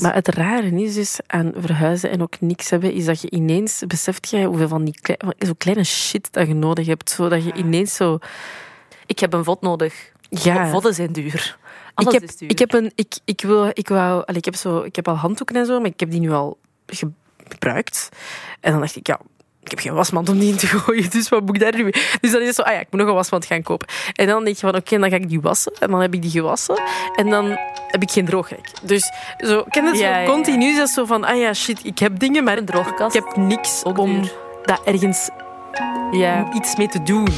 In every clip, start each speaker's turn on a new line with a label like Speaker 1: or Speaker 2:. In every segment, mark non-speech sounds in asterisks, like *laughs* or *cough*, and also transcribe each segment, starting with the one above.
Speaker 1: Maar het rare is dus aan verhuizen en ook niks hebben, is dat je ineens beseft jij hoeveel van die klei- zo kleine shit dat je nodig hebt. Zodat je ineens zo...
Speaker 2: Ik heb een vod nodig.
Speaker 1: Ja.
Speaker 2: Vodden zijn duur. Alles
Speaker 1: ik heb,
Speaker 2: is duur.
Speaker 1: Ik heb, een, ik, ik wil, ik wou, allee, ik, heb zo, ik heb al handdoeken en zo, maar ik heb die nu al ge- gebruikt. En dan dacht ik, ja, ik heb geen wasmand om die in te *laughs* gooien, dus wat moet ik daar nu mee? Dus dan is het zo, ah ja, ik moet nog een wasmand gaan kopen. En dan denk je van, oké, dan ga ik die wassen. En dan heb ik die gewassen. En dan heb ik geen droogrek. Dus zo, ken je het
Speaker 2: Ja,
Speaker 1: zo
Speaker 2: ja, ja.
Speaker 1: continu? is Dat zo van, ah ja, shit, ik heb dingen, maar
Speaker 2: Een droogkast.
Speaker 1: ik heb niks
Speaker 2: Ook
Speaker 1: om
Speaker 2: duur.
Speaker 1: daar ergens
Speaker 2: ja.
Speaker 1: iets mee te doen.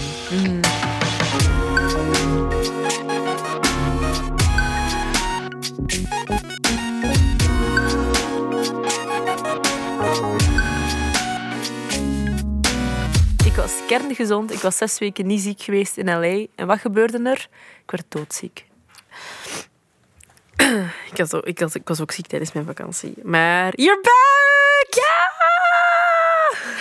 Speaker 2: Ik was kerngezond. Ik was zes weken niet ziek geweest in L.A. En wat gebeurde er? Ik werd doodziek.
Speaker 1: Ik was, ook- ik, was, ik was ook ziek tijdens mijn vakantie. Maar you're back! *laughs*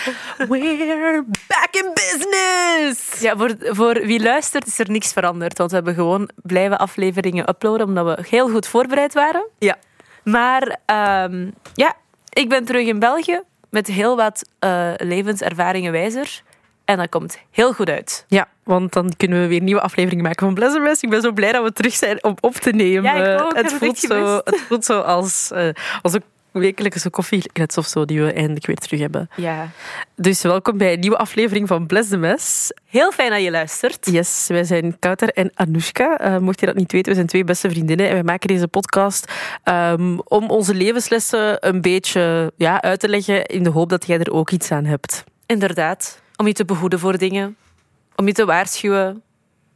Speaker 1: Ja! We're back in business!
Speaker 2: Ja, voor, voor wie luistert is er niks veranderd. Want we hebben gewoon blijven afleveringen uploaden, omdat we heel goed voorbereid waren.
Speaker 1: Ja.
Speaker 2: Maar ehm, ja, ik ben terug in België met heel wat eh, levenservaringen wijzer. En dat komt heel goed uit.
Speaker 1: Ja, want dan kunnen we weer nieuwe afleveringen maken van Bless Rest. Ik ben zo blij dat we terug zijn om op te nemen.
Speaker 2: Ja, ik ook. Heb
Speaker 1: Het
Speaker 2: het
Speaker 1: voelt,
Speaker 2: echt
Speaker 1: zo,
Speaker 2: gemist.
Speaker 1: het voelt zo als, eh, als een wekelijkse koffieklets of zo die we eindelijk weer terug hebben.
Speaker 2: Ja.
Speaker 1: Dus welkom bij een nieuwe aflevering van Bless the Mess.
Speaker 2: Heel fijn dat je luistert.
Speaker 1: Yes, wij zijn Kouter en Anoushka. Eh, mocht je dat niet weten, we zijn twee beste vriendinnen en wij maken deze podcast ehm, om onze levenslessen een beetje ja, uit te leggen in de hoop dat jij er ook iets aan hebt.
Speaker 2: Inderdaad. Om je te behoeden voor dingen. Om je te waarschuwen.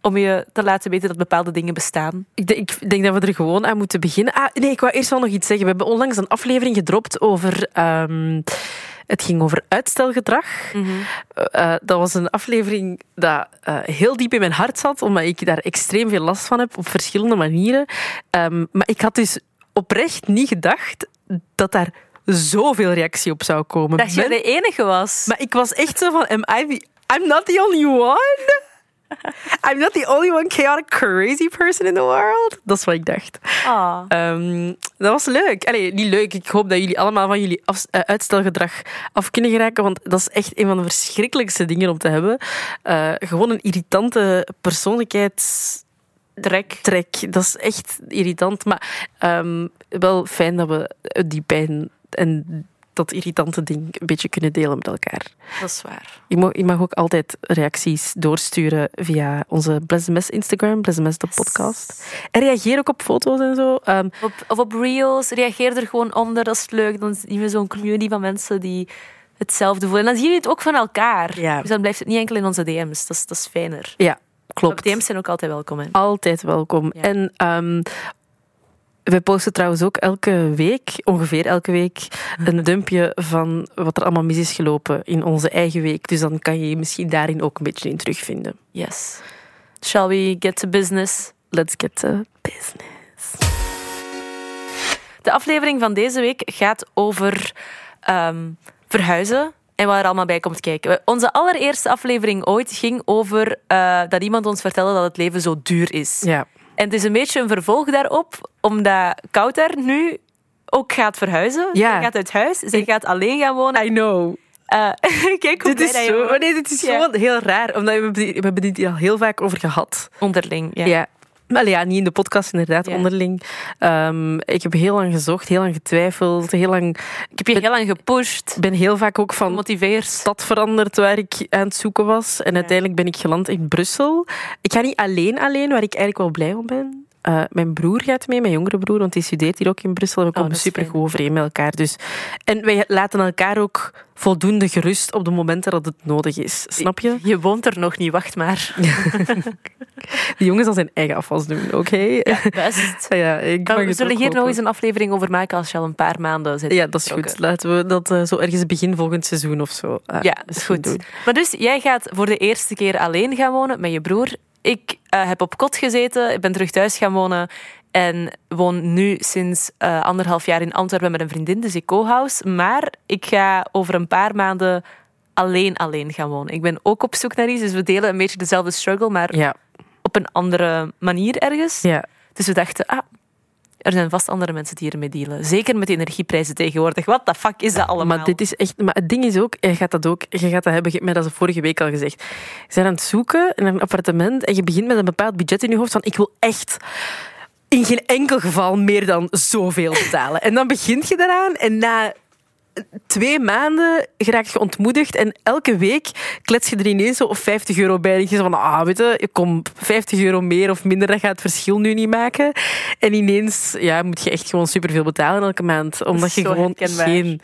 Speaker 2: Om je te laten weten dat bepaalde dingen bestaan.
Speaker 1: Ik, denk- ik denk dat we er gewoon aan moeten beginnen. Ah, nee, ik wou eerst wel nog iets zeggen. We hebben onlangs een aflevering gedropt over... ehm, het ging over uitstelgedrag. Eh, eh, dat was een aflevering dat eh, heel diep in mijn hart zat, omdat ik daar extreem veel last van heb op verschillende manieren. Ehm, maar ik had dus oprecht niet gedacht dat daar zoveel reactie op zou komen.
Speaker 2: Dat je
Speaker 1: Men-
Speaker 2: de enige was.
Speaker 1: maar ik was echt zo van, am I the, I'm not the only one?
Speaker 2: *laughs*
Speaker 1: I'm not the only one chaotic crazy person in the world? Dat is wat ik dacht.
Speaker 2: Ah.
Speaker 1: Ehm, dat was leuk. Allee, niet leuk. Ik hoop dat jullie allemaal van jullie afs- eh, uitstelgedrag af kunnen geraken. Want dat is echt een van de verschrikkelijkste dingen om te hebben. Eh, gewoon een irritante persoonlijkheidstrek.
Speaker 2: Trek.
Speaker 1: Dat is echt irritant. Maar ehm, wel fijn dat we eh, die pijn en dat irritante ding een beetje kunnen delen met elkaar.
Speaker 2: Dat is waar.
Speaker 1: Je mag, je mag ook altijd reacties doorsturen via onze Bless the Mess Instagram, Bless the Mess de podcast. En reageer ook op foto's en zo. Ehm,
Speaker 2: Op, of op reels. Reageer er gewoon onder. Dat is leuk. Dan zien we zo'n community van mensen die hetzelfde voelen. En dan zien jullie het ook van elkaar.
Speaker 1: Ja.
Speaker 2: Dus dan blijft het niet enkel in onze DM's. Dat is, dat is fijner.
Speaker 1: ja, klopt. Ah.
Speaker 2: DM's zijn ook altijd welkom. Hè.
Speaker 1: Altijd welkom.
Speaker 2: Ja.
Speaker 1: En ehm we posten trouwens ook elke week, ongeveer elke week,
Speaker 2: *laughs*
Speaker 1: een dumpje van wat er allemaal mis is gelopen in onze eigen week. Dus dan kan je je misschien daarin ook een beetje in terugvinden.
Speaker 2: Yes. Shall we get to business?
Speaker 1: Let's get to business.
Speaker 2: De aflevering van deze week gaat over ehm, verhuizen en wat er allemaal bij komt kijken. We- Onze allereerste aflevering ooit ging over eh, dat iemand ons vertelde dat het leven zo duur is.
Speaker 1: Ja.
Speaker 2: En het is een beetje een vervolg daarop, omdat Kouter nu ook gaat verhuizen.
Speaker 1: Ja.
Speaker 2: Zij gaat uit huis, zij gaat alleen gaan wonen.
Speaker 1: I know.
Speaker 2: Eh, *laughs* kijk
Speaker 1: Dit
Speaker 2: hoe blij
Speaker 1: is,
Speaker 2: dat je
Speaker 1: zo,
Speaker 2: wordt.
Speaker 1: nee, dit is
Speaker 2: Ja.
Speaker 1: gewoon heel raar, omdat we, we hebben dit hier al heel vaak over gehad.
Speaker 2: onderling. Ja.
Speaker 1: Ja. Wel ja, niet in de podcast, inderdaad,
Speaker 2: Ja.
Speaker 1: onderling. Ehm, ik heb heel lang gezocht, heel lang getwijfeld, heel lang...
Speaker 2: Ik heb je heel lang gepusht,
Speaker 1: Ik ben heel vaak ook van
Speaker 2: gemotiveerd.
Speaker 1: stad veranderd waar ik aan het zoeken was. En uiteindelijk ben ik geland in Brussel. Ik ga niet alleen alleen, waar ik eigenlijk wel blij om ben. Eh, mijn broer gaat mee, mijn jongere broer, want die studeert hier ook in Brussel. En we komen
Speaker 2: Oh, dat is
Speaker 1: super goed overeen met elkaar. Dus. En wij laten elkaar ook voldoende gerust op de momenten dat het nodig is. Snap je?
Speaker 2: Je woont er nog niet, wacht maar.
Speaker 1: Die jongens al zijn eigen afwas doen, oké?
Speaker 2: Best.
Speaker 1: *laughs* Ja, ik mag
Speaker 2: Oh, we
Speaker 1: het
Speaker 2: zullen
Speaker 1: ook
Speaker 2: hier nog
Speaker 1: hopen.
Speaker 2: eens een aflevering over maken als je al een paar maanden zit.
Speaker 1: Ja, dat is goed.
Speaker 2: vertrokken.
Speaker 1: Laten we dat eh, zo ergens begin volgend seizoen of zo. eh,
Speaker 2: Ja, dat is
Speaker 1: misschien
Speaker 2: goed.
Speaker 1: doen.
Speaker 2: Maar dus, jij gaat voor de eerste keer alleen gaan wonen met je broer. Ik eh, heb op kot gezeten, ik ben terug thuis gaan wonen en woon nu sinds eh, anderhalf jaar in Antwerpen met een vriendin, dus ik co-house. Maar ik ga over een paar maanden alleen alleen gaan wonen. Ik ben ook op zoek naar iets, dus we delen een beetje dezelfde struggle, maar
Speaker 1: Ja,
Speaker 2: op een andere manier ergens.
Speaker 1: ja.
Speaker 2: Dus we dachten, ah, Er zijn vast andere mensen die ermee dealen. Zeker met de energieprijzen tegenwoordig. Wat de fuck is dat allemaal?
Speaker 1: Maar, dit is echt, maar het ding is ook, je gaat dat ook, je gaat dat hebben, je hebt mij dat vorige week al gezegd. Je bent aan het zoeken in een appartement en je begint met een bepaald budget in je hoofd van ik wil echt in geen enkel geval meer dan zoveel betalen. En dan begint je daaraan en na twee maanden raak je ontmoedigd en elke week klets je er ineens zo of 50 euro bij. En je zegt van, ah, weet je, ik kom 50 euro meer of minder, dat gaat het verschil nu niet maken. En ineens ja, moet je echt gewoon superveel betalen elke maand, omdat je
Speaker 2: zo
Speaker 1: gewoon
Speaker 2: herkenbaar.
Speaker 1: geen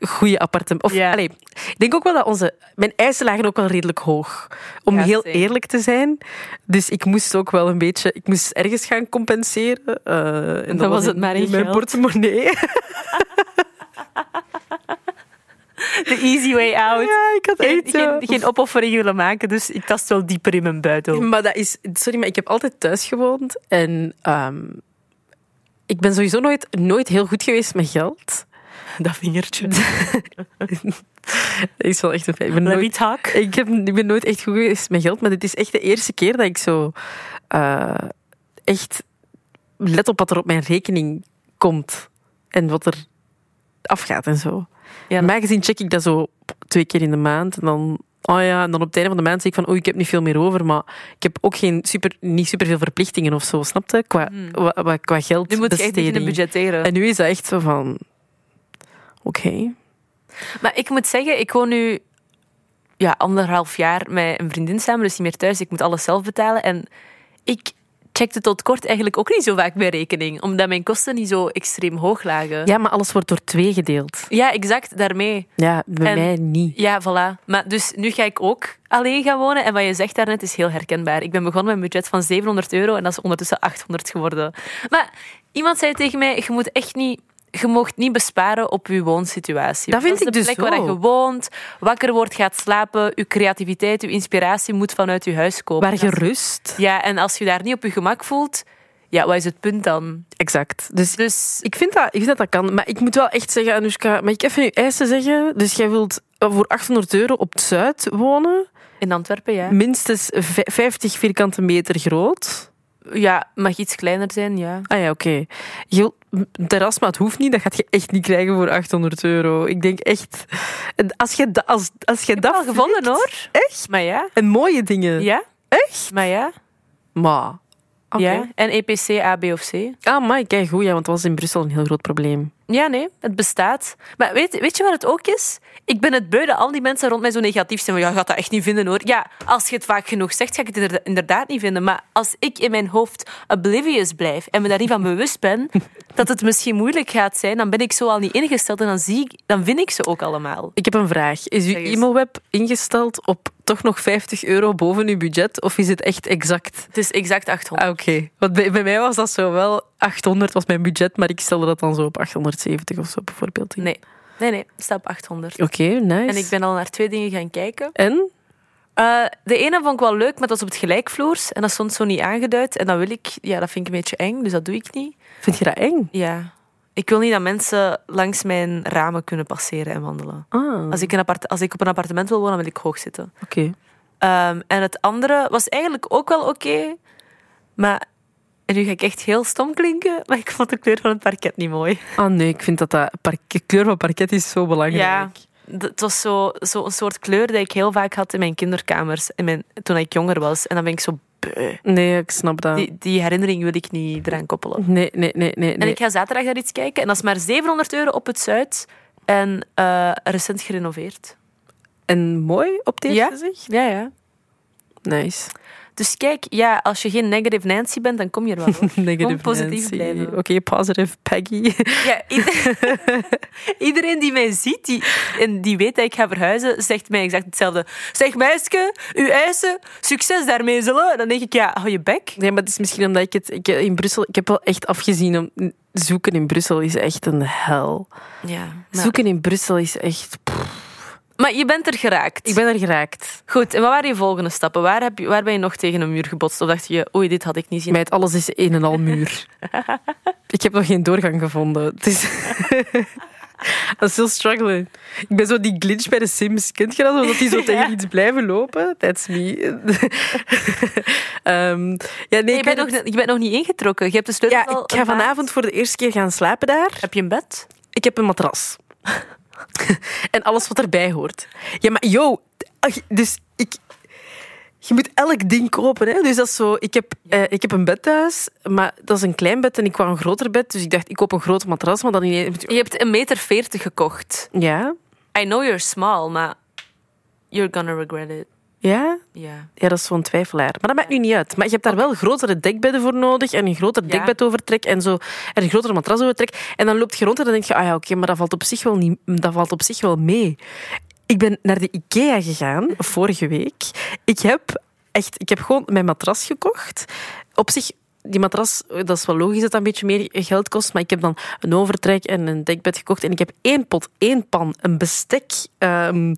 Speaker 1: goede appartement... Of,
Speaker 2: Ja.
Speaker 1: allee, ik denk ook wel dat onze... Mijn eisen lagen ook wel redelijk hoog, om
Speaker 2: Ja,
Speaker 1: heel
Speaker 2: same.
Speaker 1: eerlijk te zijn. Dus ik moest ook wel een beetje... Ik moest ergens gaan compenseren. eh, en
Speaker 2: Dan was het
Speaker 1: in-
Speaker 2: maar in
Speaker 1: in mijn
Speaker 2: geld. *laughs*
Speaker 1: portemonnee.
Speaker 2: De easy way out.
Speaker 1: *laughs* Ja, ik had
Speaker 2: Geen,
Speaker 1: echt zo-
Speaker 2: geen, geen opoffering willen maken, dus ik tast wel dieper in mijn buidel.
Speaker 1: Maar dat is, sorry, maar ik heb altijd thuis gewoond en ehm, ik ben sowieso nooit, nooit heel goed geweest met geld.
Speaker 2: Dat *laughs* vingertje.
Speaker 1: Dat is wel echt een feit. Ik ben
Speaker 2: Let
Speaker 1: nooit,
Speaker 2: me talk.
Speaker 1: ik, heb, ik ben nooit echt goed geweest met geld, maar dit is echt de eerste keer dat ik zo eh, echt let op wat er op mijn rekening komt en wat er afgaat en zo.
Speaker 2: Ja,
Speaker 1: In mijn gezin check ik dat zo twee keer in de maand. En dan, oh ja, en dan op het einde van de maand zeg ik van, oei, ik heb niet veel meer over. Maar ik heb ook geen super, niet superveel verplichtingen of zo, snap je? Qua, wa- wa- qua geld
Speaker 2: Hmm. nu moet je echt
Speaker 1: besteding.
Speaker 2: beginnen budgetteren.
Speaker 1: En nu is dat echt zo van... Oké.
Speaker 2: Maar ik moet zeggen, ik woon nu ja, anderhalf jaar met een vriendin samen, dus niet meer thuis. Ik moet alles zelf betalen. En ik checkte tot kort eigenlijk ook niet zo vaak mijn rekening, omdat mijn kosten niet zo extreem hoog lagen.
Speaker 1: Ja, maar alles wordt door twee gedeeld.
Speaker 2: Ja, exact, daarmee.
Speaker 1: Ja, bij
Speaker 2: En-
Speaker 1: mij niet.
Speaker 2: Ja, voilà. Maar dus nu ga ik ook alleen gaan wonen. En wat je zegt daarnet is heel herkenbaar. Ik ben begonnen met een budget van 700 euro en dat is ondertussen 800 geworden. Maar iemand zei tegen mij, je moet echt niet... Je mag niet besparen op je woonsituatie.
Speaker 1: Dat vind
Speaker 2: is
Speaker 1: ik
Speaker 2: de
Speaker 1: dus
Speaker 2: plek waar
Speaker 1: ook.
Speaker 2: je woont, wakker wordt, gaat slapen. Je creativiteit, je inspiratie moet vanuit je huis komen.
Speaker 1: Waar je rust.
Speaker 2: Ja, en als je daar niet op je gemak voelt, ja, wat is het punt dan?
Speaker 1: Exact. Dus
Speaker 2: Dus
Speaker 1: Ik vind, dat, ik vind dat dat kan, maar ik moet wel echt zeggen, Anoushka, mag ik even je eisen zeggen? Dus jij wilt eh, voor 800 euro op het Zuid wonen,
Speaker 2: in Antwerpen, ja.
Speaker 1: minstens vij- 50 vierkante meter groot.
Speaker 2: Ja, mag iets kleiner zijn, ja.
Speaker 1: Ah ja, oké. Je- Een terras, maar het hoeft niet. Dat gaat je echt niet krijgen voor 800 euro. Ik denk echt... Als je, da- als, als je
Speaker 2: Ik heb
Speaker 1: dat
Speaker 2: het al gevonden,
Speaker 1: flikt-
Speaker 2: hoor. Echt? Maar ja.
Speaker 1: En mooie dingen.
Speaker 2: Ja? Echt? Maar ja.
Speaker 1: Maar... Oké.
Speaker 2: Ja, en EPC, A, B of C.
Speaker 1: Ah, maar kijk, goed, ja, want dat was in Brussel een heel groot probleem.
Speaker 2: Ja, nee, het bestaat. Maar weet, weet je wat het ook is? Ik ben het beu dat al die mensen rond mij zo negatief zijn. van, Ja, je gaat dat echt niet vinden hoor. Ja, als je het vaak genoeg zegt, ga ik het inderda- inderdaad niet vinden. Maar als ik in mijn hoofd oblivious blijf en me daar niet van bewust *laughs* ben dat het misschien moeilijk gaat zijn, dan ben ik zo al niet ingesteld en dan, zie ik, dan vind ik ze ook allemaal.
Speaker 1: Ik heb een vraag. Is uw
Speaker 2: Zeg eens.
Speaker 1: e-mailweb ingesteld op toch nog 50 euro boven uw budget? Of is het echt exact?
Speaker 2: Het is exact 800.
Speaker 1: Ah, oké. Want bij, bij mij was dat zo wel... 800 was mijn budget, maar ik stelde dat dan zo op 870 of zo bijvoorbeeld. in.
Speaker 2: Eh, Nee, nee, nee, stap 800.
Speaker 1: Oké, nice.
Speaker 2: En ik ben al naar twee dingen gaan kijken.
Speaker 1: En?
Speaker 2: Eh, de ene vond ik wel leuk, maar dat was op het gelijkvloers. En dat stond zo niet aangeduid. En dat wil ik, ja, dat vind ik een beetje eng, dus dat doe ik niet.
Speaker 1: Vind je dat eng?
Speaker 2: Ja. Ik wil niet dat mensen langs mijn ramen kunnen passeren en wandelen.
Speaker 1: Ah,
Speaker 2: Als ik, een appart- als ik op een appartement wil wonen, wil ik hoog zitten.
Speaker 1: oké.
Speaker 2: Ehm, en het andere was eigenlijk ook wel oké. maar, en nu ga ik echt heel stom klinken, maar ik vond de kleur van het parket niet mooi.
Speaker 1: Ah nee, ik vind dat dat park- kleur van parket is zo belangrijk.
Speaker 2: Ja, d- het was zo'n zo een soort kleur die ik heel vaak had in mijn kinderkamers in mijn, toen ik jonger was. En dan ben ik zo beu.
Speaker 1: Nee, ik snap dat.
Speaker 2: Die, die herinnering wil ik niet eraan koppelen.
Speaker 1: Nee, nee, nee, nee.
Speaker 2: En
Speaker 1: nee.
Speaker 2: ik ga zaterdag naar iets kijken. En dat is maar 700 euro op het Zuid. En eh, recent gerenoveerd.
Speaker 1: En mooi op dit
Speaker 2: Ja?
Speaker 1: gezicht?
Speaker 2: Ja, ja.
Speaker 1: Nice.
Speaker 2: Dus kijk, ja, als je geen negative Nancy bent, dan kom je er wel. *laughs* hoor.
Speaker 1: Negative
Speaker 2: positief
Speaker 1: Nancy.
Speaker 2: blijven.
Speaker 1: Oké, positive Peggy.
Speaker 2: Ja, ieder- *laughs* iedereen die mij ziet die, en die weet dat ik ga verhuizen, zegt mij exact hetzelfde. Zeg meisje, uw eisen, succes daarmee zullen. Dan denk ik, ja, hou je bek.
Speaker 1: Nee, maar het is misschien omdat ik het... Ik, in Brussel... Ik heb wel echt afgezien om... Zoeken in Brussel is echt een hel.
Speaker 2: Ja, maar,
Speaker 1: Zoeken in Brussel is echt... pff,
Speaker 2: maar je bent er geraakt.
Speaker 1: Ik ben er geraakt.
Speaker 2: Goed, en wat waren je volgende stappen? Waar, heb je, waar ben je nog tegen een muur gebotst? Of dacht je, oei, dit had ik niet zien
Speaker 1: Meid, alles is
Speaker 2: *laughs*
Speaker 1: een en al muur. ik heb nog geen doorgang gevonden. Het is... I'm still struggling. Ik ben zo die glitch bij de Sims. Kent je dat? Omdat die
Speaker 2: *laughs*
Speaker 1: zo tegen
Speaker 2: Ja.
Speaker 1: iets blijven lopen. That's me. *laughs* Ehm, ja, nee,
Speaker 2: Nee,
Speaker 1: ik
Speaker 2: je,
Speaker 1: weet
Speaker 2: bent nog,
Speaker 1: het-
Speaker 2: je bent nog niet ingetrokken. Je hebt de sleutel
Speaker 1: ja,
Speaker 2: al
Speaker 1: ik ga
Speaker 2: een maand.
Speaker 1: vanavond voor de eerste keer gaan slapen daar.
Speaker 2: Heb je een bed?
Speaker 1: Ik heb een matras. *laughs* en alles wat erbij hoort. Ja, maar yo, ach, dus ik. Je moet elk ding kopen. Hè? Dus dat is zo, ik, heb, eh, ik heb een bed thuis, maar dat is een klein bed en ik wou een groter bed. Dus ik dacht, ik koop een groot matras, maar dan ineens...
Speaker 2: Je hebt een meter veertig gekocht.
Speaker 1: Ja,
Speaker 2: I know you're small, maar you're gonna regret it.
Speaker 1: ja,
Speaker 2: Ja.
Speaker 1: ja, dat is zo'n twijfelaar. Maar dat maakt nu niet uit. Maar je hebt daar wel grotere dekbedden voor nodig en een groter
Speaker 2: Ja.
Speaker 1: dekbedovertrek en zo en een groter matrasovertrek. En dan loopt je rond en dan denk je, ah ja, oké, maar dat valt op zich wel niet, dat valt op zich wel mee. Ik ben naar de IKEA gegaan vorige week. Ik heb echt, ik heb gewoon mijn matras gekocht. Op zich. Die matras, dat is wel logisch dat dat een beetje meer geld kost. Maar ik heb dan een overtrek en een dekbed gekocht. En ik heb één pot, één pan, een bestek. ehm,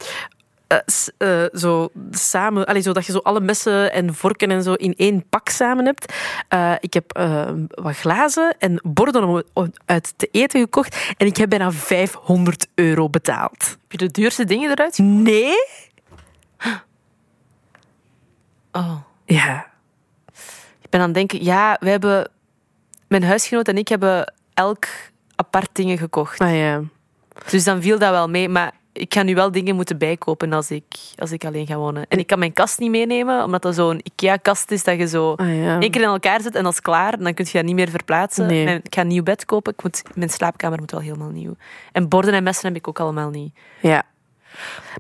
Speaker 1: eh, s- eh, zo samen, allee, zo dat je zo alle messen en vorken en zo in één pak samen hebt. Eh, ik heb eh, wat glazen en borden om om uit te eten gekocht en ik heb bijna 500 euro betaald.
Speaker 2: Heb je de duurste dingen eruit? ge-
Speaker 1: Nee?
Speaker 2: Oh.
Speaker 1: Ja.
Speaker 2: Ik ben aan het denken, ja, we hebben... Mijn huisgenoot en ik hebben elk apart dingen gekocht.
Speaker 1: Maar Ah, ja.
Speaker 2: Dus dan viel dat wel mee. Maar ik ga nu wel dingen moeten bijkopen als ik, als ik alleen ga wonen. En ik kan mijn kast niet meenemen, omdat dat zo'n IKEA-kast is dat je zo
Speaker 1: Ah, ja.
Speaker 2: één keer in elkaar zet en dat is klaar. Dan kun je dat niet meer verplaatsen.
Speaker 1: Nee.
Speaker 2: Mijn- ik ga een nieuw bed kopen. Ik moet, mijn slaapkamer moet wel helemaal nieuw. En borden en messen heb ik ook allemaal niet.
Speaker 1: Ja.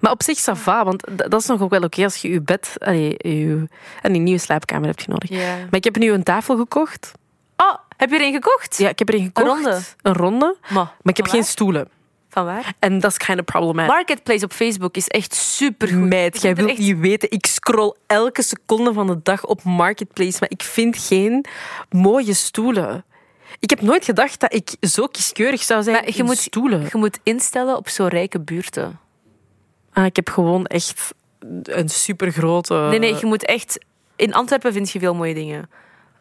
Speaker 1: Maar op zich, sava, want d- dat is nog ook wel oké als je je bed allee, je, en een nieuwe slaapkamer hebt nodig. Maar ik heb nu een tafel gekocht.
Speaker 2: Oh, heb je er een gekocht?
Speaker 1: Ja, ik heb erin gekocht.
Speaker 2: ronde?
Speaker 1: Een ronde.
Speaker 2: Maar,
Speaker 1: Maar ik heb
Speaker 2: van
Speaker 1: geen
Speaker 2: waar?
Speaker 1: stoelen.
Speaker 2: Van waar?
Speaker 1: En dat is kind of problematic.
Speaker 2: Marketplace op Facebook is echt supergoed.
Speaker 1: Meid, jij
Speaker 2: er
Speaker 1: wilt
Speaker 2: echt-
Speaker 1: niet weten. Ik scroll elke seconde van de dag op Marketplace, maar ik vind geen mooie stoelen. Ik heb nooit gedacht dat ik zo kieskeurig zou zijn
Speaker 2: Maar je
Speaker 1: in
Speaker 2: moet-
Speaker 1: stoelen.
Speaker 2: Je moet instellen op zo'n rijke buurten.
Speaker 1: Ah, ik heb gewoon echt een supergrote...
Speaker 2: Nee, nee, je moet echt... In Antwerpen vind je veel mooie dingen.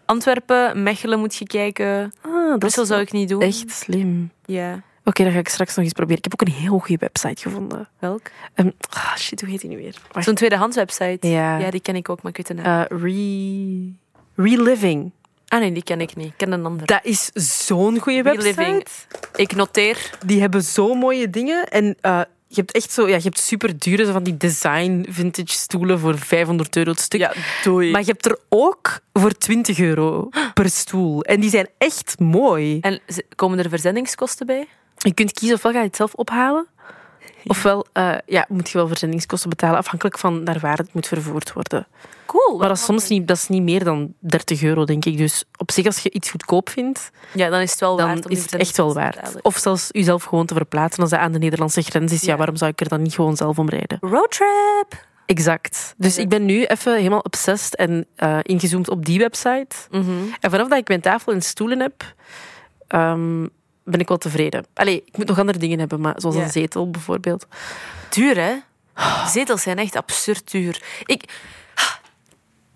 Speaker 2: Antwerpen, Mechelen moet je kijken.
Speaker 1: Ah, dat
Speaker 2: Brussel
Speaker 1: is
Speaker 2: zou ik niet doen.
Speaker 1: echt slim.
Speaker 2: Ja.
Speaker 1: Oké, dat ga ik straks nog eens proberen. Ik heb ook een heel goede website gevonden.
Speaker 2: Welk?
Speaker 1: Ehm, ah, shit, hoe heet die nu weer? Wacht.
Speaker 2: Zo'n tweedehands website.
Speaker 1: Ja.
Speaker 2: die ken ik ook, maar ik weet de naam.
Speaker 1: Eh, re... Reliving.
Speaker 2: Ah nee, die ken ik niet. Ik ken een ander.
Speaker 1: Dat is zo'n goede website.
Speaker 2: Reliving. Ik noteer.
Speaker 1: die hebben zo mooie dingen. En eh, je hebt echt zo, ja, je hebt super dure van die design vintage stoelen voor 500 euro het stuk.
Speaker 2: doei.
Speaker 1: Maar je hebt er ook voor 20 euro per stoel. En die zijn echt mooi.
Speaker 2: En ze- komen er verzendingskosten bij?
Speaker 1: Je kunt kiezen ofwel ga je het zelf ophalen. Ofwel eh, ja, moet je wel verzendingskosten betalen, afhankelijk van naar waar het moet vervoerd worden.
Speaker 2: Cool.
Speaker 1: Maar dat is soms niet, dat is niet meer dan 30 euro, denk ik. Dus op zich, als je iets goedkoop vindt,
Speaker 2: Ja, dan is het wel
Speaker 1: dan
Speaker 2: waard. om die
Speaker 1: is het echt wel
Speaker 2: verzendingskosten te
Speaker 1: waard. Of zelfs jezelf gewoon te verplaatsen als dat aan de Nederlandse grens is. Ja,
Speaker 2: Ja.
Speaker 1: waarom zou ik er dan niet gewoon zelf om rijden?
Speaker 2: betalen. Oh, Roadtrip.
Speaker 1: Exact. Dus
Speaker 2: Exact.
Speaker 1: ik ben nu even helemaal obsessed en eh, ingezoomd op die website. En vanaf dat ik mijn tafel en stoelen heb, ehm, ben ik wel tevreden. Allee, ik moet nog andere dingen hebben, maar zoals
Speaker 2: Ja.
Speaker 1: een zetel bijvoorbeeld.
Speaker 2: Duur, hè? Zetels zijn echt absurd duur. Ik,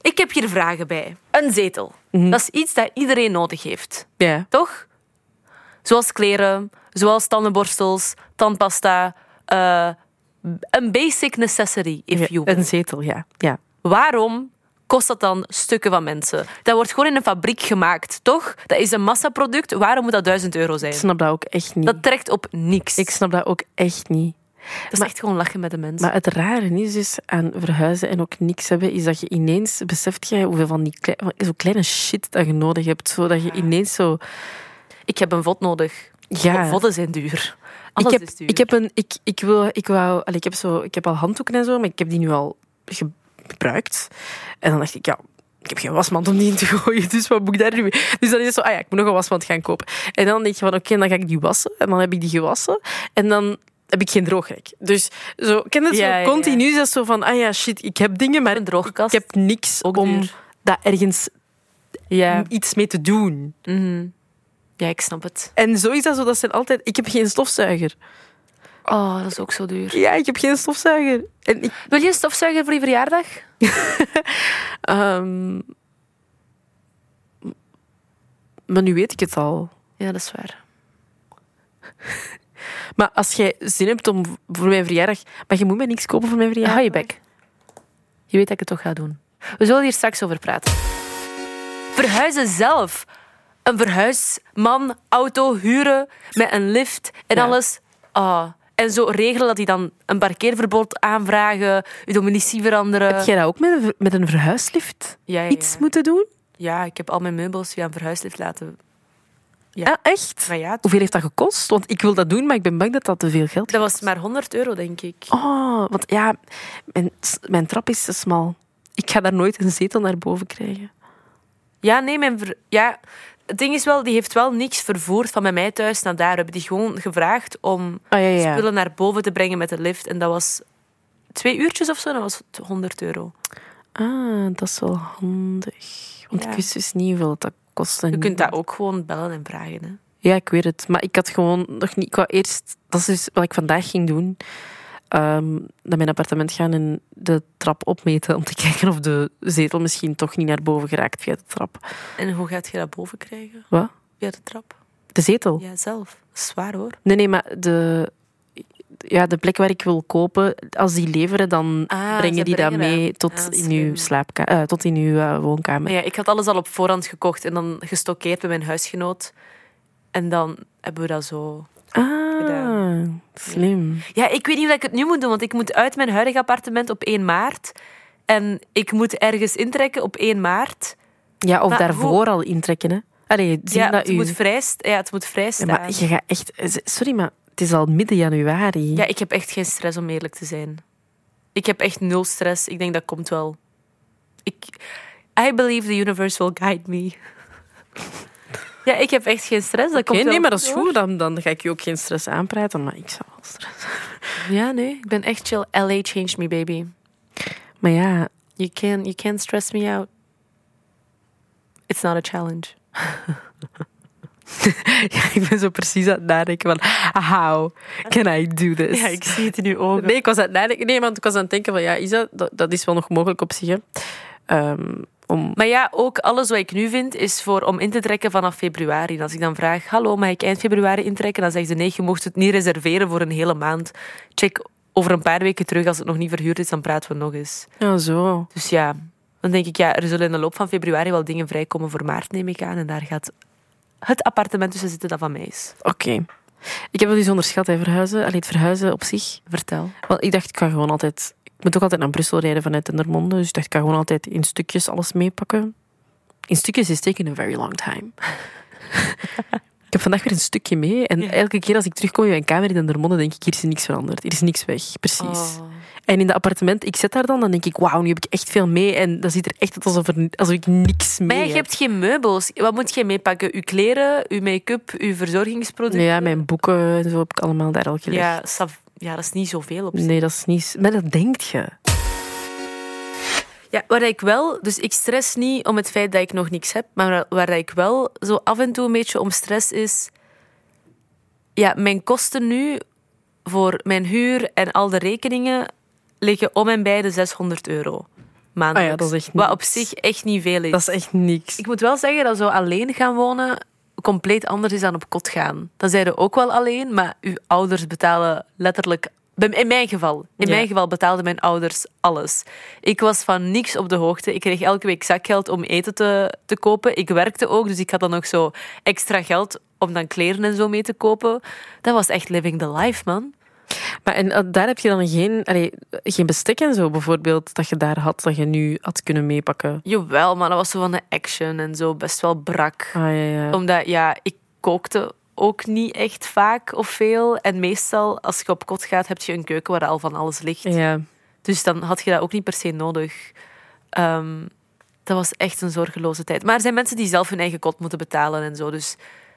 Speaker 2: ik heb hier vragen bij. Een zetel.
Speaker 1: Mhm.
Speaker 2: Dat is iets dat iedereen nodig heeft.
Speaker 1: Ja.
Speaker 2: Toch? Zoals kleren, zoals tandenborstels, tandpasta. eh, een basic necessity, if
Speaker 1: Ja,
Speaker 2: you will.
Speaker 1: Een zetel, ja. ja.
Speaker 2: Waarom kost dat dan stukken van mensen? Dat wordt gewoon in een fabriek gemaakt, toch? Dat is een massaproduct. Waarom moet dat 1000 euro zijn?
Speaker 1: Ik snap dat ook echt niet.
Speaker 2: Dat trekt op niks.
Speaker 1: Ik snap dat ook echt niet.
Speaker 2: dat is
Speaker 1: maar-
Speaker 2: echt gewoon lachen met de mensen.
Speaker 1: Maar het rare is dus aan verhuizen en ook niks hebben, is dat je ineens beseft jij hoeveel van die klei- van zo kleine shit dat je nodig hebt. Zodat je ineens zo...
Speaker 2: ik heb een vod nodig.
Speaker 1: Ja.
Speaker 2: Vodden zijn duur. Alles
Speaker 1: ik heb,
Speaker 2: is duur.
Speaker 1: Ik heb, een, ik, ik wil, ik, wou, allee, ik, heb zo, ik heb al handdoeken en zo, maar ik heb die nu al ge- gebruikt. En dan dacht ik, ja, ik heb geen wasmand om die in te *laughs* gooien, dus wat moet ik daar nu mee? Dus dan is het zo, ah ja, ik moet nog een wasmand gaan kopen. En dan denk je van, oké, dan ga ik die wassen. En dan heb ik die gewassen. En dan heb ik geen droogrek. Dus zo, ik ken het
Speaker 2: Ja, ja, ja.
Speaker 1: zo, continu is dat zo van, ah ja, shit, ik heb dingen, maar
Speaker 2: een droogkast.
Speaker 1: ik heb niks
Speaker 2: Ook
Speaker 1: om
Speaker 2: duur.
Speaker 1: daar ergens
Speaker 2: ja.
Speaker 1: iets mee te doen.
Speaker 2: Mhm. ja, ik snap het.
Speaker 1: En zo is dat zo, dat zijn altijd, ik heb geen stofzuiger.
Speaker 2: Oh, dat is ook zo duur.
Speaker 1: Ja, ik heb geen stofzuiger. En ik
Speaker 2: Wil je een stofzuiger voor je verjaardag?
Speaker 1: Ehm, maar nu weet ik het al.
Speaker 2: Ja, dat is waar.
Speaker 1: Maar als jij zin hebt om voor mijn verjaardag... Maar je moet mij niks kopen voor mijn verjaardag.
Speaker 2: Hou Ah, je bek. Je weet dat ik het toch ga doen. We zullen hier straks over praten. Verhuizen zelf. Een verhuisman, auto huren met een lift en
Speaker 1: Ja.
Speaker 2: alles. Ah, En zo regelen dat die dan een parkeerverbod aanvragen, je dominicie veranderen.
Speaker 1: Heb jij dat ook met een, ver- met een verhuislift
Speaker 2: Ja, ja, ja.
Speaker 1: iets moeten doen?
Speaker 2: Ja, ik heb al mijn meubels via een verhuislift laten. Ja.
Speaker 1: Ah, echt?
Speaker 2: Maar ja, het-
Speaker 1: Hoeveel heeft dat gekost? Want ik wil dat doen, maar ik ben bang dat dat te veel geld is.
Speaker 2: dat was maar 100 euro, denk ik.
Speaker 1: Oh, want ja, mijn, s- mijn trap is te smal. Ik ga daar nooit een zetel naar boven krijgen.
Speaker 2: Ja, nee, mijn ver- ja, het ding is wel, die heeft wel niks vervoerd van bij mij thuis naar daar. We hebben die gewoon gevraagd om
Speaker 1: Oh, ja, ja.
Speaker 2: spullen naar boven te brengen met de lift. En dat was twee uurtjes of zo, en dat was het 100 euro.
Speaker 1: Ah, dat is wel handig. Want
Speaker 2: Ja.
Speaker 1: ik wist dus niet hoeveel dat, dat kostte.
Speaker 2: Je kunt dat ook gewoon bellen en vragen. Hè.
Speaker 1: Ja, ik weet het. Maar ik had gewoon nog niet... Ik wou eerst... Dat is dus wat ik vandaag ging doen. Ehm naar mijn appartement gaan en de trap opmeten om te *laughs* kijken of de zetel misschien toch niet naar boven geraakt via de trap.
Speaker 2: En hoe gaat je dat boven krijgen?
Speaker 1: Wat? Oh.
Speaker 2: Via de trap?
Speaker 1: De zetel?
Speaker 2: Ja, zelf. Dat is Zwaar hoor.
Speaker 1: Nee, nee, maar de, ja, de plek waar ik wil kopen, als die leveren, dan
Speaker 2: Ah,
Speaker 1: brengen
Speaker 2: ze
Speaker 1: die dat
Speaker 2: brengen dat.
Speaker 1: mee tot,
Speaker 2: Ah,
Speaker 1: in
Speaker 2: slim.
Speaker 1: uw slaapka- eh, tot in uw eh, woonkamer.
Speaker 2: Maar ja, ik had alles al op voorhand gekocht en dan gestockeerd bij mijn huisgenoot. En dan hebben we dat zo.
Speaker 1: Ah,
Speaker 2: Gedaan.
Speaker 1: slim.
Speaker 2: Ja, ik weet niet hoe ik het nu moet doen, want ik moet uit mijn huidige appartement op 1 maart. En ik moet ergens intrekken op 1 maart.
Speaker 1: Ja, of
Speaker 2: Maar
Speaker 1: daarvoor al intrekken, hè. Allee, zien
Speaker 2: Ja,
Speaker 1: dat
Speaker 2: het
Speaker 1: u...
Speaker 2: moet vrij, st- ja, het moet vrij
Speaker 1: Ja,
Speaker 2: staan.
Speaker 1: maar je gaat echt... Sorry, maar het is al midden januari.
Speaker 2: Ja, ik heb echt geen stress om eerlijk te zijn. Ik heb echt nul stress. Ik denk dat komt wel. Ik, I believe the universe will guide me. *laughs* Ja, ik heb echt geen stress. Dat
Speaker 1: Oké,
Speaker 2: komt
Speaker 1: nee,
Speaker 2: wel
Speaker 1: maar dat is
Speaker 2: goed,
Speaker 1: goed. Dan, dan ga ik je ook geen stress aanpraten, maar ik zal wel stress.
Speaker 2: hoor. Ja, nee. Ik ben echt chill. LA changed me, baby.
Speaker 1: Maar ja,
Speaker 2: You can you can't stress me out. It's not a challenge.
Speaker 1: ja, *laughs* ik ben zo precies aan het nadenken van... How can I do this?
Speaker 2: zie het in uw ogen.
Speaker 1: Nee, ik was aan het nadenken. Nee, want ik was aan het denken van ja, is dat, dat, dat is wel nog mogelijk op zich. Hè. Ehm, om,
Speaker 2: Maar ja, ook alles wat ik nu vind is voor om in te trekken vanaf februari. En als ik dan vraag, hallo, mag ik eind februari intrekken? Dan zegt ze, nee, je mocht het niet reserveren voor een hele maand. Check over een paar weken terug, als het nog niet verhuurd is, dan praten we nog eens.
Speaker 1: ja, zo.
Speaker 2: Dus ja, dan denk ik, ja, er zullen in de loop van februari wel dingen vrijkomen voor maart, neem ik aan. En daar gaat het appartement tussen zitten dat van mij is.
Speaker 1: Oké. Ik heb dat dus onderschat, hè, verhuizen. Allee, het verhuizen op zich.
Speaker 2: Vertel.
Speaker 1: Want ik dacht, ik ga gewoon altijd... Ik moet ook altijd naar Brussel rijden vanuit Dendermonde. Dus ik dacht, ik ga gewoon altijd in stukjes alles meepakken. In stukjes is taking a very long time. *laughs* ik heb vandaag weer een stukje mee. En
Speaker 2: Ja.
Speaker 1: elke keer als ik terugkom in mijn kamer in Dendermonde, denk ik, hier is niks veranderd. Hier is niks weg. Precies.
Speaker 2: Oh.
Speaker 1: En in dat appartement, ik zit daar dan, dan denk ik, wauw, nu heb ik echt veel mee. En dan ziet er echt uit alsof, er, alsof ik niks mee
Speaker 2: Maar ja, je
Speaker 1: heb.
Speaker 2: hebt geen meubels. Wat moet je meepakken? Uw kleren, uw make-up, uw verzorgingsproducten?
Speaker 1: Ja, mijn boeken en zo heb ik allemaal daar al gelegd.
Speaker 2: Ja, saf- ja, dat is niet zoveel op zich.
Speaker 1: Nee, dat is niet... Maar dat denk je.
Speaker 2: Ja, waar ik wel... Dus ik stress niet om het feit dat ik nog niks heb, maar waar, waar ik wel zo af en toe een beetje om stress is... Ja, mijn kosten nu voor mijn huur en al de rekeningen liggen om en bij de 600 euro maandelijks.
Speaker 1: Ah ja, dat is echt
Speaker 2: Wat op
Speaker 1: niks.
Speaker 2: zich echt niet veel is.
Speaker 1: Dat is echt niks.
Speaker 2: Ik moet wel zeggen dat zo alleen gaan wonen compleet anders is dan op kot gaan. Dan zijn er ook wel alleen, maar uw ouders betalen letterlijk. bij- In mijn geval, in
Speaker 1: Ja.
Speaker 2: mijn geval betaalden mijn ouders alles. Ik was van niks op de hoogte. Ik kreeg elke week zakgeld om eten te, te kopen. Ik werkte ook, dus ik had dan nog zo extra geld om dan kleren en zo mee te kopen. Dat was echt living the life, man.
Speaker 1: Maar en eh, daar heb je dan geen, allee, geen bestek en zo bijvoorbeeld, dat je daar had, dat je nu had kunnen meepakken.
Speaker 2: Jawel, maar dat was zo van de action en zo best wel brak.
Speaker 1: Ah, ja, ja.
Speaker 2: Omdat ja, ik kookte ook niet echt vaak of veel. En meestal, als je op kot gaat, heb je een keuken waar al van alles ligt.
Speaker 1: ja.
Speaker 2: Dus dan had je dat ook niet per se nodig. Ehm, dat was echt een zorgeloze tijd. Maar er zijn mensen die zelf hun eigen kot moeten betalen en zo. Dus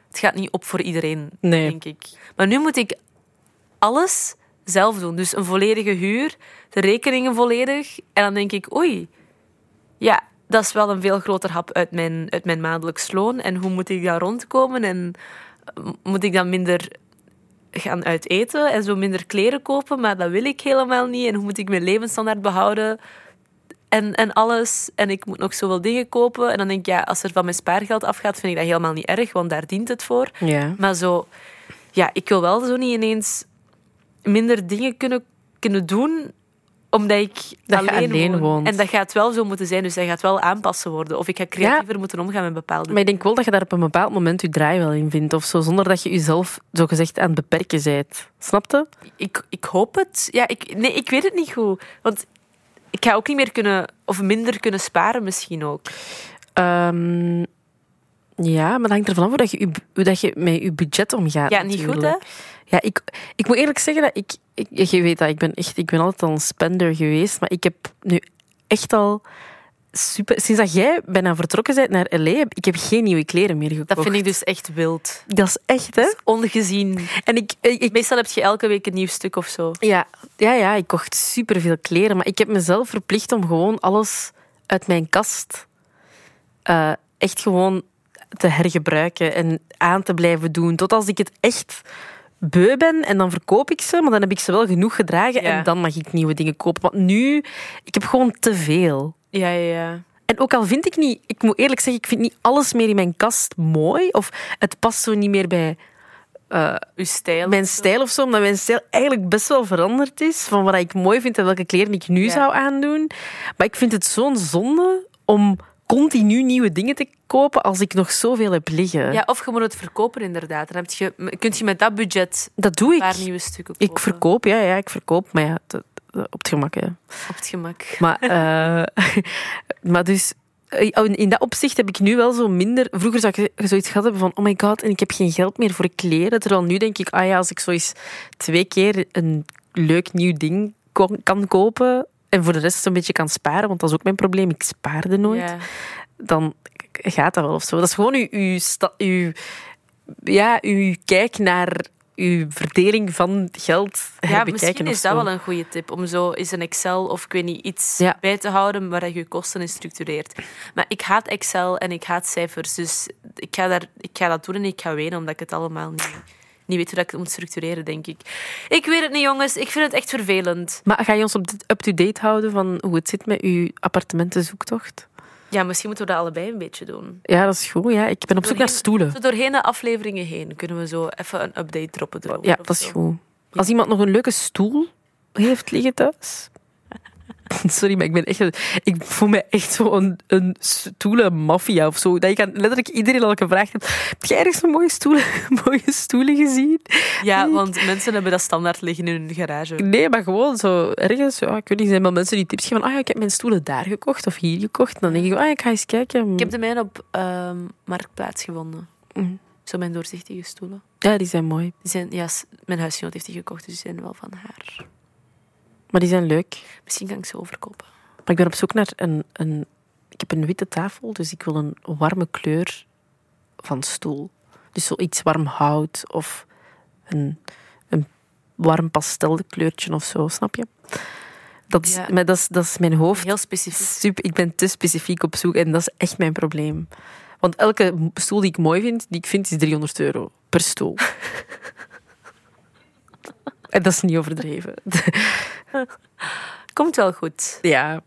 Speaker 2: het gaat niet op voor iedereen,
Speaker 1: Nee.
Speaker 2: denk ik. Maar nu moet ik alles zelf doen. Dus een volledige huur, de rekeningen volledig. En dan denk ik, oei, ja, dat is wel een veel groter hap uit mijn, uit mijn maandelijks loon. En hoe moet ik daar rondkomen? En eh, moet ik dan minder gaan uiteten en zo minder kleren kopen? Maar dat wil ik helemaal niet. En hoe moet ik mijn levensstandaard behouden? En, en alles. En ik moet nog zoveel dingen kopen. En dan denk ik, ja, als er van mijn spaargeld afgaat, vind ik dat helemaal niet erg, want daar dient het voor.
Speaker 1: ja.
Speaker 2: Maar zo, ja, ik wil wel zo niet ineens minder dingen kunnen, kunnen doen omdat ik
Speaker 1: Dat je
Speaker 2: alleen,
Speaker 1: alleen
Speaker 2: woon.
Speaker 1: woont.
Speaker 2: En dat gaat wel zo moeten zijn, dus dat gaat wel aanpassen worden. Of ik ga creatiever moeten omgaan met bepaalde
Speaker 1: Maar ik denk wel dat je daar op een bepaald moment je draai wel in vindt of zo, zonder dat je jezelf zogezegd aan het beperken bent. Snapte?
Speaker 2: Ik, ik hoop het. Ja, ik, nee, ik weet het niet goed. Want ik ga ook niet meer kunnen, of minder kunnen sparen misschien ook.
Speaker 1: Ehm ja, maar dat hangt ervan af hoe dat je, je- hoe dat je met je budget omgaat.
Speaker 2: Ja, niet goed,
Speaker 1: natuurlijk.
Speaker 2: hè?
Speaker 1: Ja, ik, ik moet eerlijk zeggen dat ik, ik... Je weet dat, ik ben, echt, ik ben altijd al een spender geweest. Maar ik heb nu echt al super... Sinds dat jij bijna vertrokken bent naar L.A., heb- ik heb geen nieuwe kleren meer gekocht.
Speaker 2: Dat vind ik dus echt wild.
Speaker 1: Dat is echt, hè?
Speaker 2: Ongezien.
Speaker 1: En ik... eh, ik, ik-
Speaker 2: Meestal heb je elke week een nieuw stuk of zo.
Speaker 1: ja, ja, ja, ik kocht superveel kleren. Maar ik heb mezelf verplicht om gewoon alles uit mijn kast... eh, echt gewoon te hergebruiken en aan te blijven doen. Tot als ik het echt beu ben en dan verkoop ik ze, maar dan heb ik ze wel genoeg gedragen
Speaker 2: Ja.
Speaker 1: en dan mag ik nieuwe dingen kopen. Want nu, ik heb gewoon te veel.
Speaker 2: Ja, ja, ja.
Speaker 1: En ook al vind ik niet, ik moet eerlijk zeggen, ik vind niet alles meer in mijn kast mooi of het past zo niet meer bij
Speaker 2: Uw stijl.
Speaker 1: mijn stijl of zo, omdat mijn stijl eigenlijk best wel veranderd is van wat ik mooi vind en welke kleren ik nu
Speaker 2: Ja.
Speaker 1: zou aandoen. Maar ik vind het zo'n zonde om continu nieuwe dingen te kopen als ik nog zoveel heb liggen.
Speaker 2: Ja, of je moet het verkopen inderdaad. Dan heb je, m- kun je met dat budget
Speaker 1: Dat doe
Speaker 2: een
Speaker 1: ik.
Speaker 2: paar nieuwe stukken kopen.
Speaker 1: Ik verkoop, ja, ja, ik verkoop. Maar ja, dat- dat- op het gemak, hè.
Speaker 2: Op het gemak.
Speaker 1: Maar, eh, *laughs* maar dus... eh, oh, In dat opzicht heb ik nu wel zo minder... Vroeger zou ik zoiets gehad hebben van... Oh my god, en ik heb geen geld meer voor kleren. Terwijl nu denk ik... Ah ja, als ik zo eens twee keer een leuk nieuw ding kon- kan kopen... En voor de rest een beetje kan sparen. Want dat is ook mijn probleem. Ik spaarde nooit
Speaker 2: Ja.
Speaker 1: dan gaat dat wel of zo. Dat is gewoon uw, uw, sta- uw- ja, uw kijk naar uw verdeling van geld.
Speaker 2: Ja,
Speaker 1: herbekijken
Speaker 2: misschien
Speaker 1: of
Speaker 2: is dat
Speaker 1: zo.
Speaker 2: wel een goede tip om zo eens een Excel of ik weet niet iets
Speaker 1: Ja.
Speaker 2: bij te houden waar je je kosten in structureert. Maar ik haat Excel en ik haat cijfers, dus ik ga, daar, ik ga dat doen en ik ga wenen omdat ik het allemaal niet, niet weet hoe dat ik het moet structureren, denk ik. Ik weet het niet, jongens. Ik vind het echt vervelend.
Speaker 1: Maar ga je ons op- up-to-date houden van hoe het zit met uw appartementenzoektocht?
Speaker 2: Ja, misschien moeten we dat allebei een beetje doen.
Speaker 1: Ja, dat is goed. Ja. Ik ben op zoek naar
Speaker 2: Doorheen-
Speaker 1: stoelen.
Speaker 2: Zo doorheen de afleveringen heen kunnen we zo even een update droppen. erover
Speaker 1: Ja,
Speaker 2: of
Speaker 1: dat is
Speaker 2: zo.
Speaker 1: goed. Als iemand nog een leuke stoel heeft liggen thuis... *laughs* Sorry, maar ik ben echt... Ik voel me echt zo'n een stoelenmafia of zo. Dat ik aan letterlijk iedereen al gevraagd heb... Heb jij ergens een mooie stoelen, *laughs* mooie stoelen gezien?
Speaker 2: *laughs*
Speaker 1: Hmm.
Speaker 2: Ja, want mensen hebben dat standaard liggen in hun garage.
Speaker 1: Nee, maar gewoon zo ergens. Ja, ik weet niet, er zijn wel mensen die tips geven van ah, ja, ik heb mijn stoelen daar gekocht of hier gekocht. En dan denk ik, ah, ik ga eens kijken.
Speaker 2: Ik heb de mijne op ehm, Marktplaats gevonden.
Speaker 1: Mm.
Speaker 2: Zo mijn doorzichtige stoelen.
Speaker 1: Ja, die zijn mooi.
Speaker 2: Die zijn, ja, s- mijn huisgenoot heeft die gekocht, dus die zijn wel van haar.
Speaker 1: Maar die zijn leuk.
Speaker 2: Misschien kan ik ze overkopen.
Speaker 1: Maar ik ben op zoek naar een, een... Ik heb een witte tafel, dus ik wil een warme kleur van stoel. Dus zoiets warm hout of een, een warm pastelkleurtje of zo, snap je? Dat is,
Speaker 2: Ja.
Speaker 1: maar dat is, dat is mijn hoofd.
Speaker 2: Heel specifiek.
Speaker 1: Super, ik ben te specifiek op zoek en dat is echt mijn probleem. Want elke m- stoel die ik mooi vind, die ik vind, is 300 euro per stoel. en dat is niet overdreven.
Speaker 2: Komt wel goed.
Speaker 1: ja.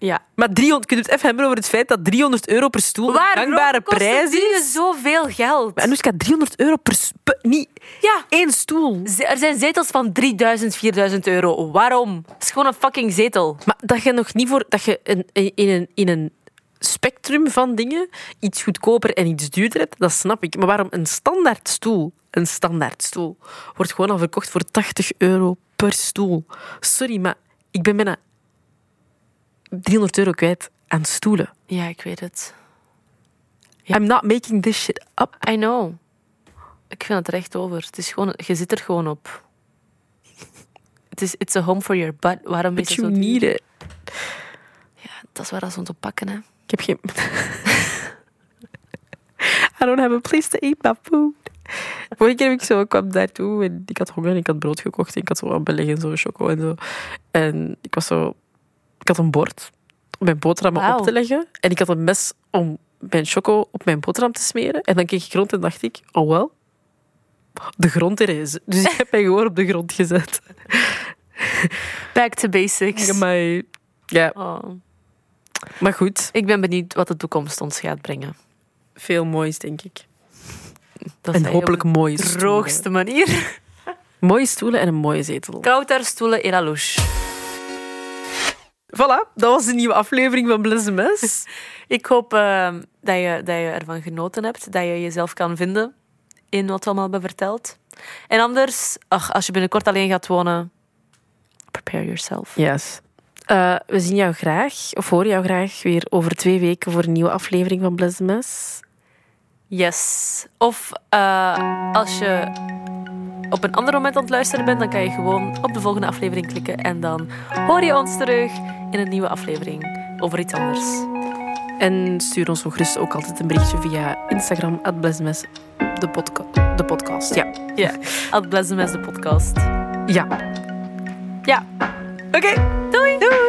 Speaker 2: Ja.
Speaker 1: Maar 300, kun je het even hebben over het feit dat 300 euro per stoel een gangbare prijs is?
Speaker 2: is zoveel geld?
Speaker 1: Maar Anoushka, 300 euro per, s- per- niet
Speaker 2: Ja,
Speaker 1: één stoel.
Speaker 2: ze- er zijn zetels van 3000, 4000 euro. Waarom? Het is gewoon een fucking zetel.
Speaker 1: Maar dat je nog niet voor... Dat je een, een- in, een, in een spectrum van dingen iets goedkoper en iets duurder hebt, dat snap ik. Maar waarom een standaard stoel, een standaard stoel, wordt gewoon al verkocht voor 80 euro per stoel? Sorry, maar ik ben bijna 300 euro kwijt aan stoelen.
Speaker 2: Ja, ik weet het. Ja.
Speaker 1: I'm not making this shit up.
Speaker 2: I know. Ik vind het recht over. Het is gewoon, je zit er gewoon op. Het is it's a home for your butt. Waarom
Speaker 1: But
Speaker 2: is het
Speaker 1: you
Speaker 2: zo duur?
Speaker 1: need it.
Speaker 2: Dat is waar dat ze ons op pakken, hè.
Speaker 1: Ik heb geen... *laughs* I don't have a place to eat my food. Vorige keer heb ik zo, ik kwam daartoe en ik had honger en ik had brood gekocht en ik had zo wat beleg en zo, choco en zo. En ik was zo... Ik had een bord om mijn boterhammen
Speaker 2: Wauw.
Speaker 1: op te leggen en ik had een mes om mijn choco op mijn boterham te smeren. En dan keek ik rond en dacht ik, oh wel, de grond er is. Dus ik heb mij gewoon op de grond
Speaker 2: *laughs*
Speaker 1: gezet.
Speaker 2: Back to basics.
Speaker 1: Maar, ja,
Speaker 2: Oh.
Speaker 1: maar goed,
Speaker 2: Ik ben benieuwd wat de toekomst ons gaat brengen.
Speaker 1: veel moois denk ik.
Speaker 2: Dat
Speaker 1: En
Speaker 2: zei je op
Speaker 1: hopelijk
Speaker 2: de
Speaker 1: mooie stoelen.
Speaker 2: droogste manier. *laughs*
Speaker 1: Mooie stoelen en een mooie zetel.
Speaker 2: Kouter stoelen in la louche.
Speaker 1: Voilà, dat was de nieuwe aflevering van Blessemes.
Speaker 2: Ik hoop eh, dat, je, dat je ervan genoten hebt, dat je jezelf kan vinden in wat we allemaal hebben verteld. En anders, ach, als je binnenkort alleen gaat wonen, prepare yourself.
Speaker 1: *laughs* Yes. Eh, we zien jou graag, of horen jou graag, weer over twee weken voor een nieuwe aflevering van Blessemes.
Speaker 2: Yes. Of eh, als je op een ander moment aan het luisteren bent, dan kan je gewoon op de volgende aflevering klikken en dan hoor je ons terug in een nieuwe aflevering over iets anders.
Speaker 1: En stuur ons zo gerust ook altijd een berichtje via Instagram, at Blessemes, de, podca- de podcast. Ja.
Speaker 2: Ad Blessemes, de podcast.
Speaker 1: ja.
Speaker 2: Ja. Oké, doei! Doei!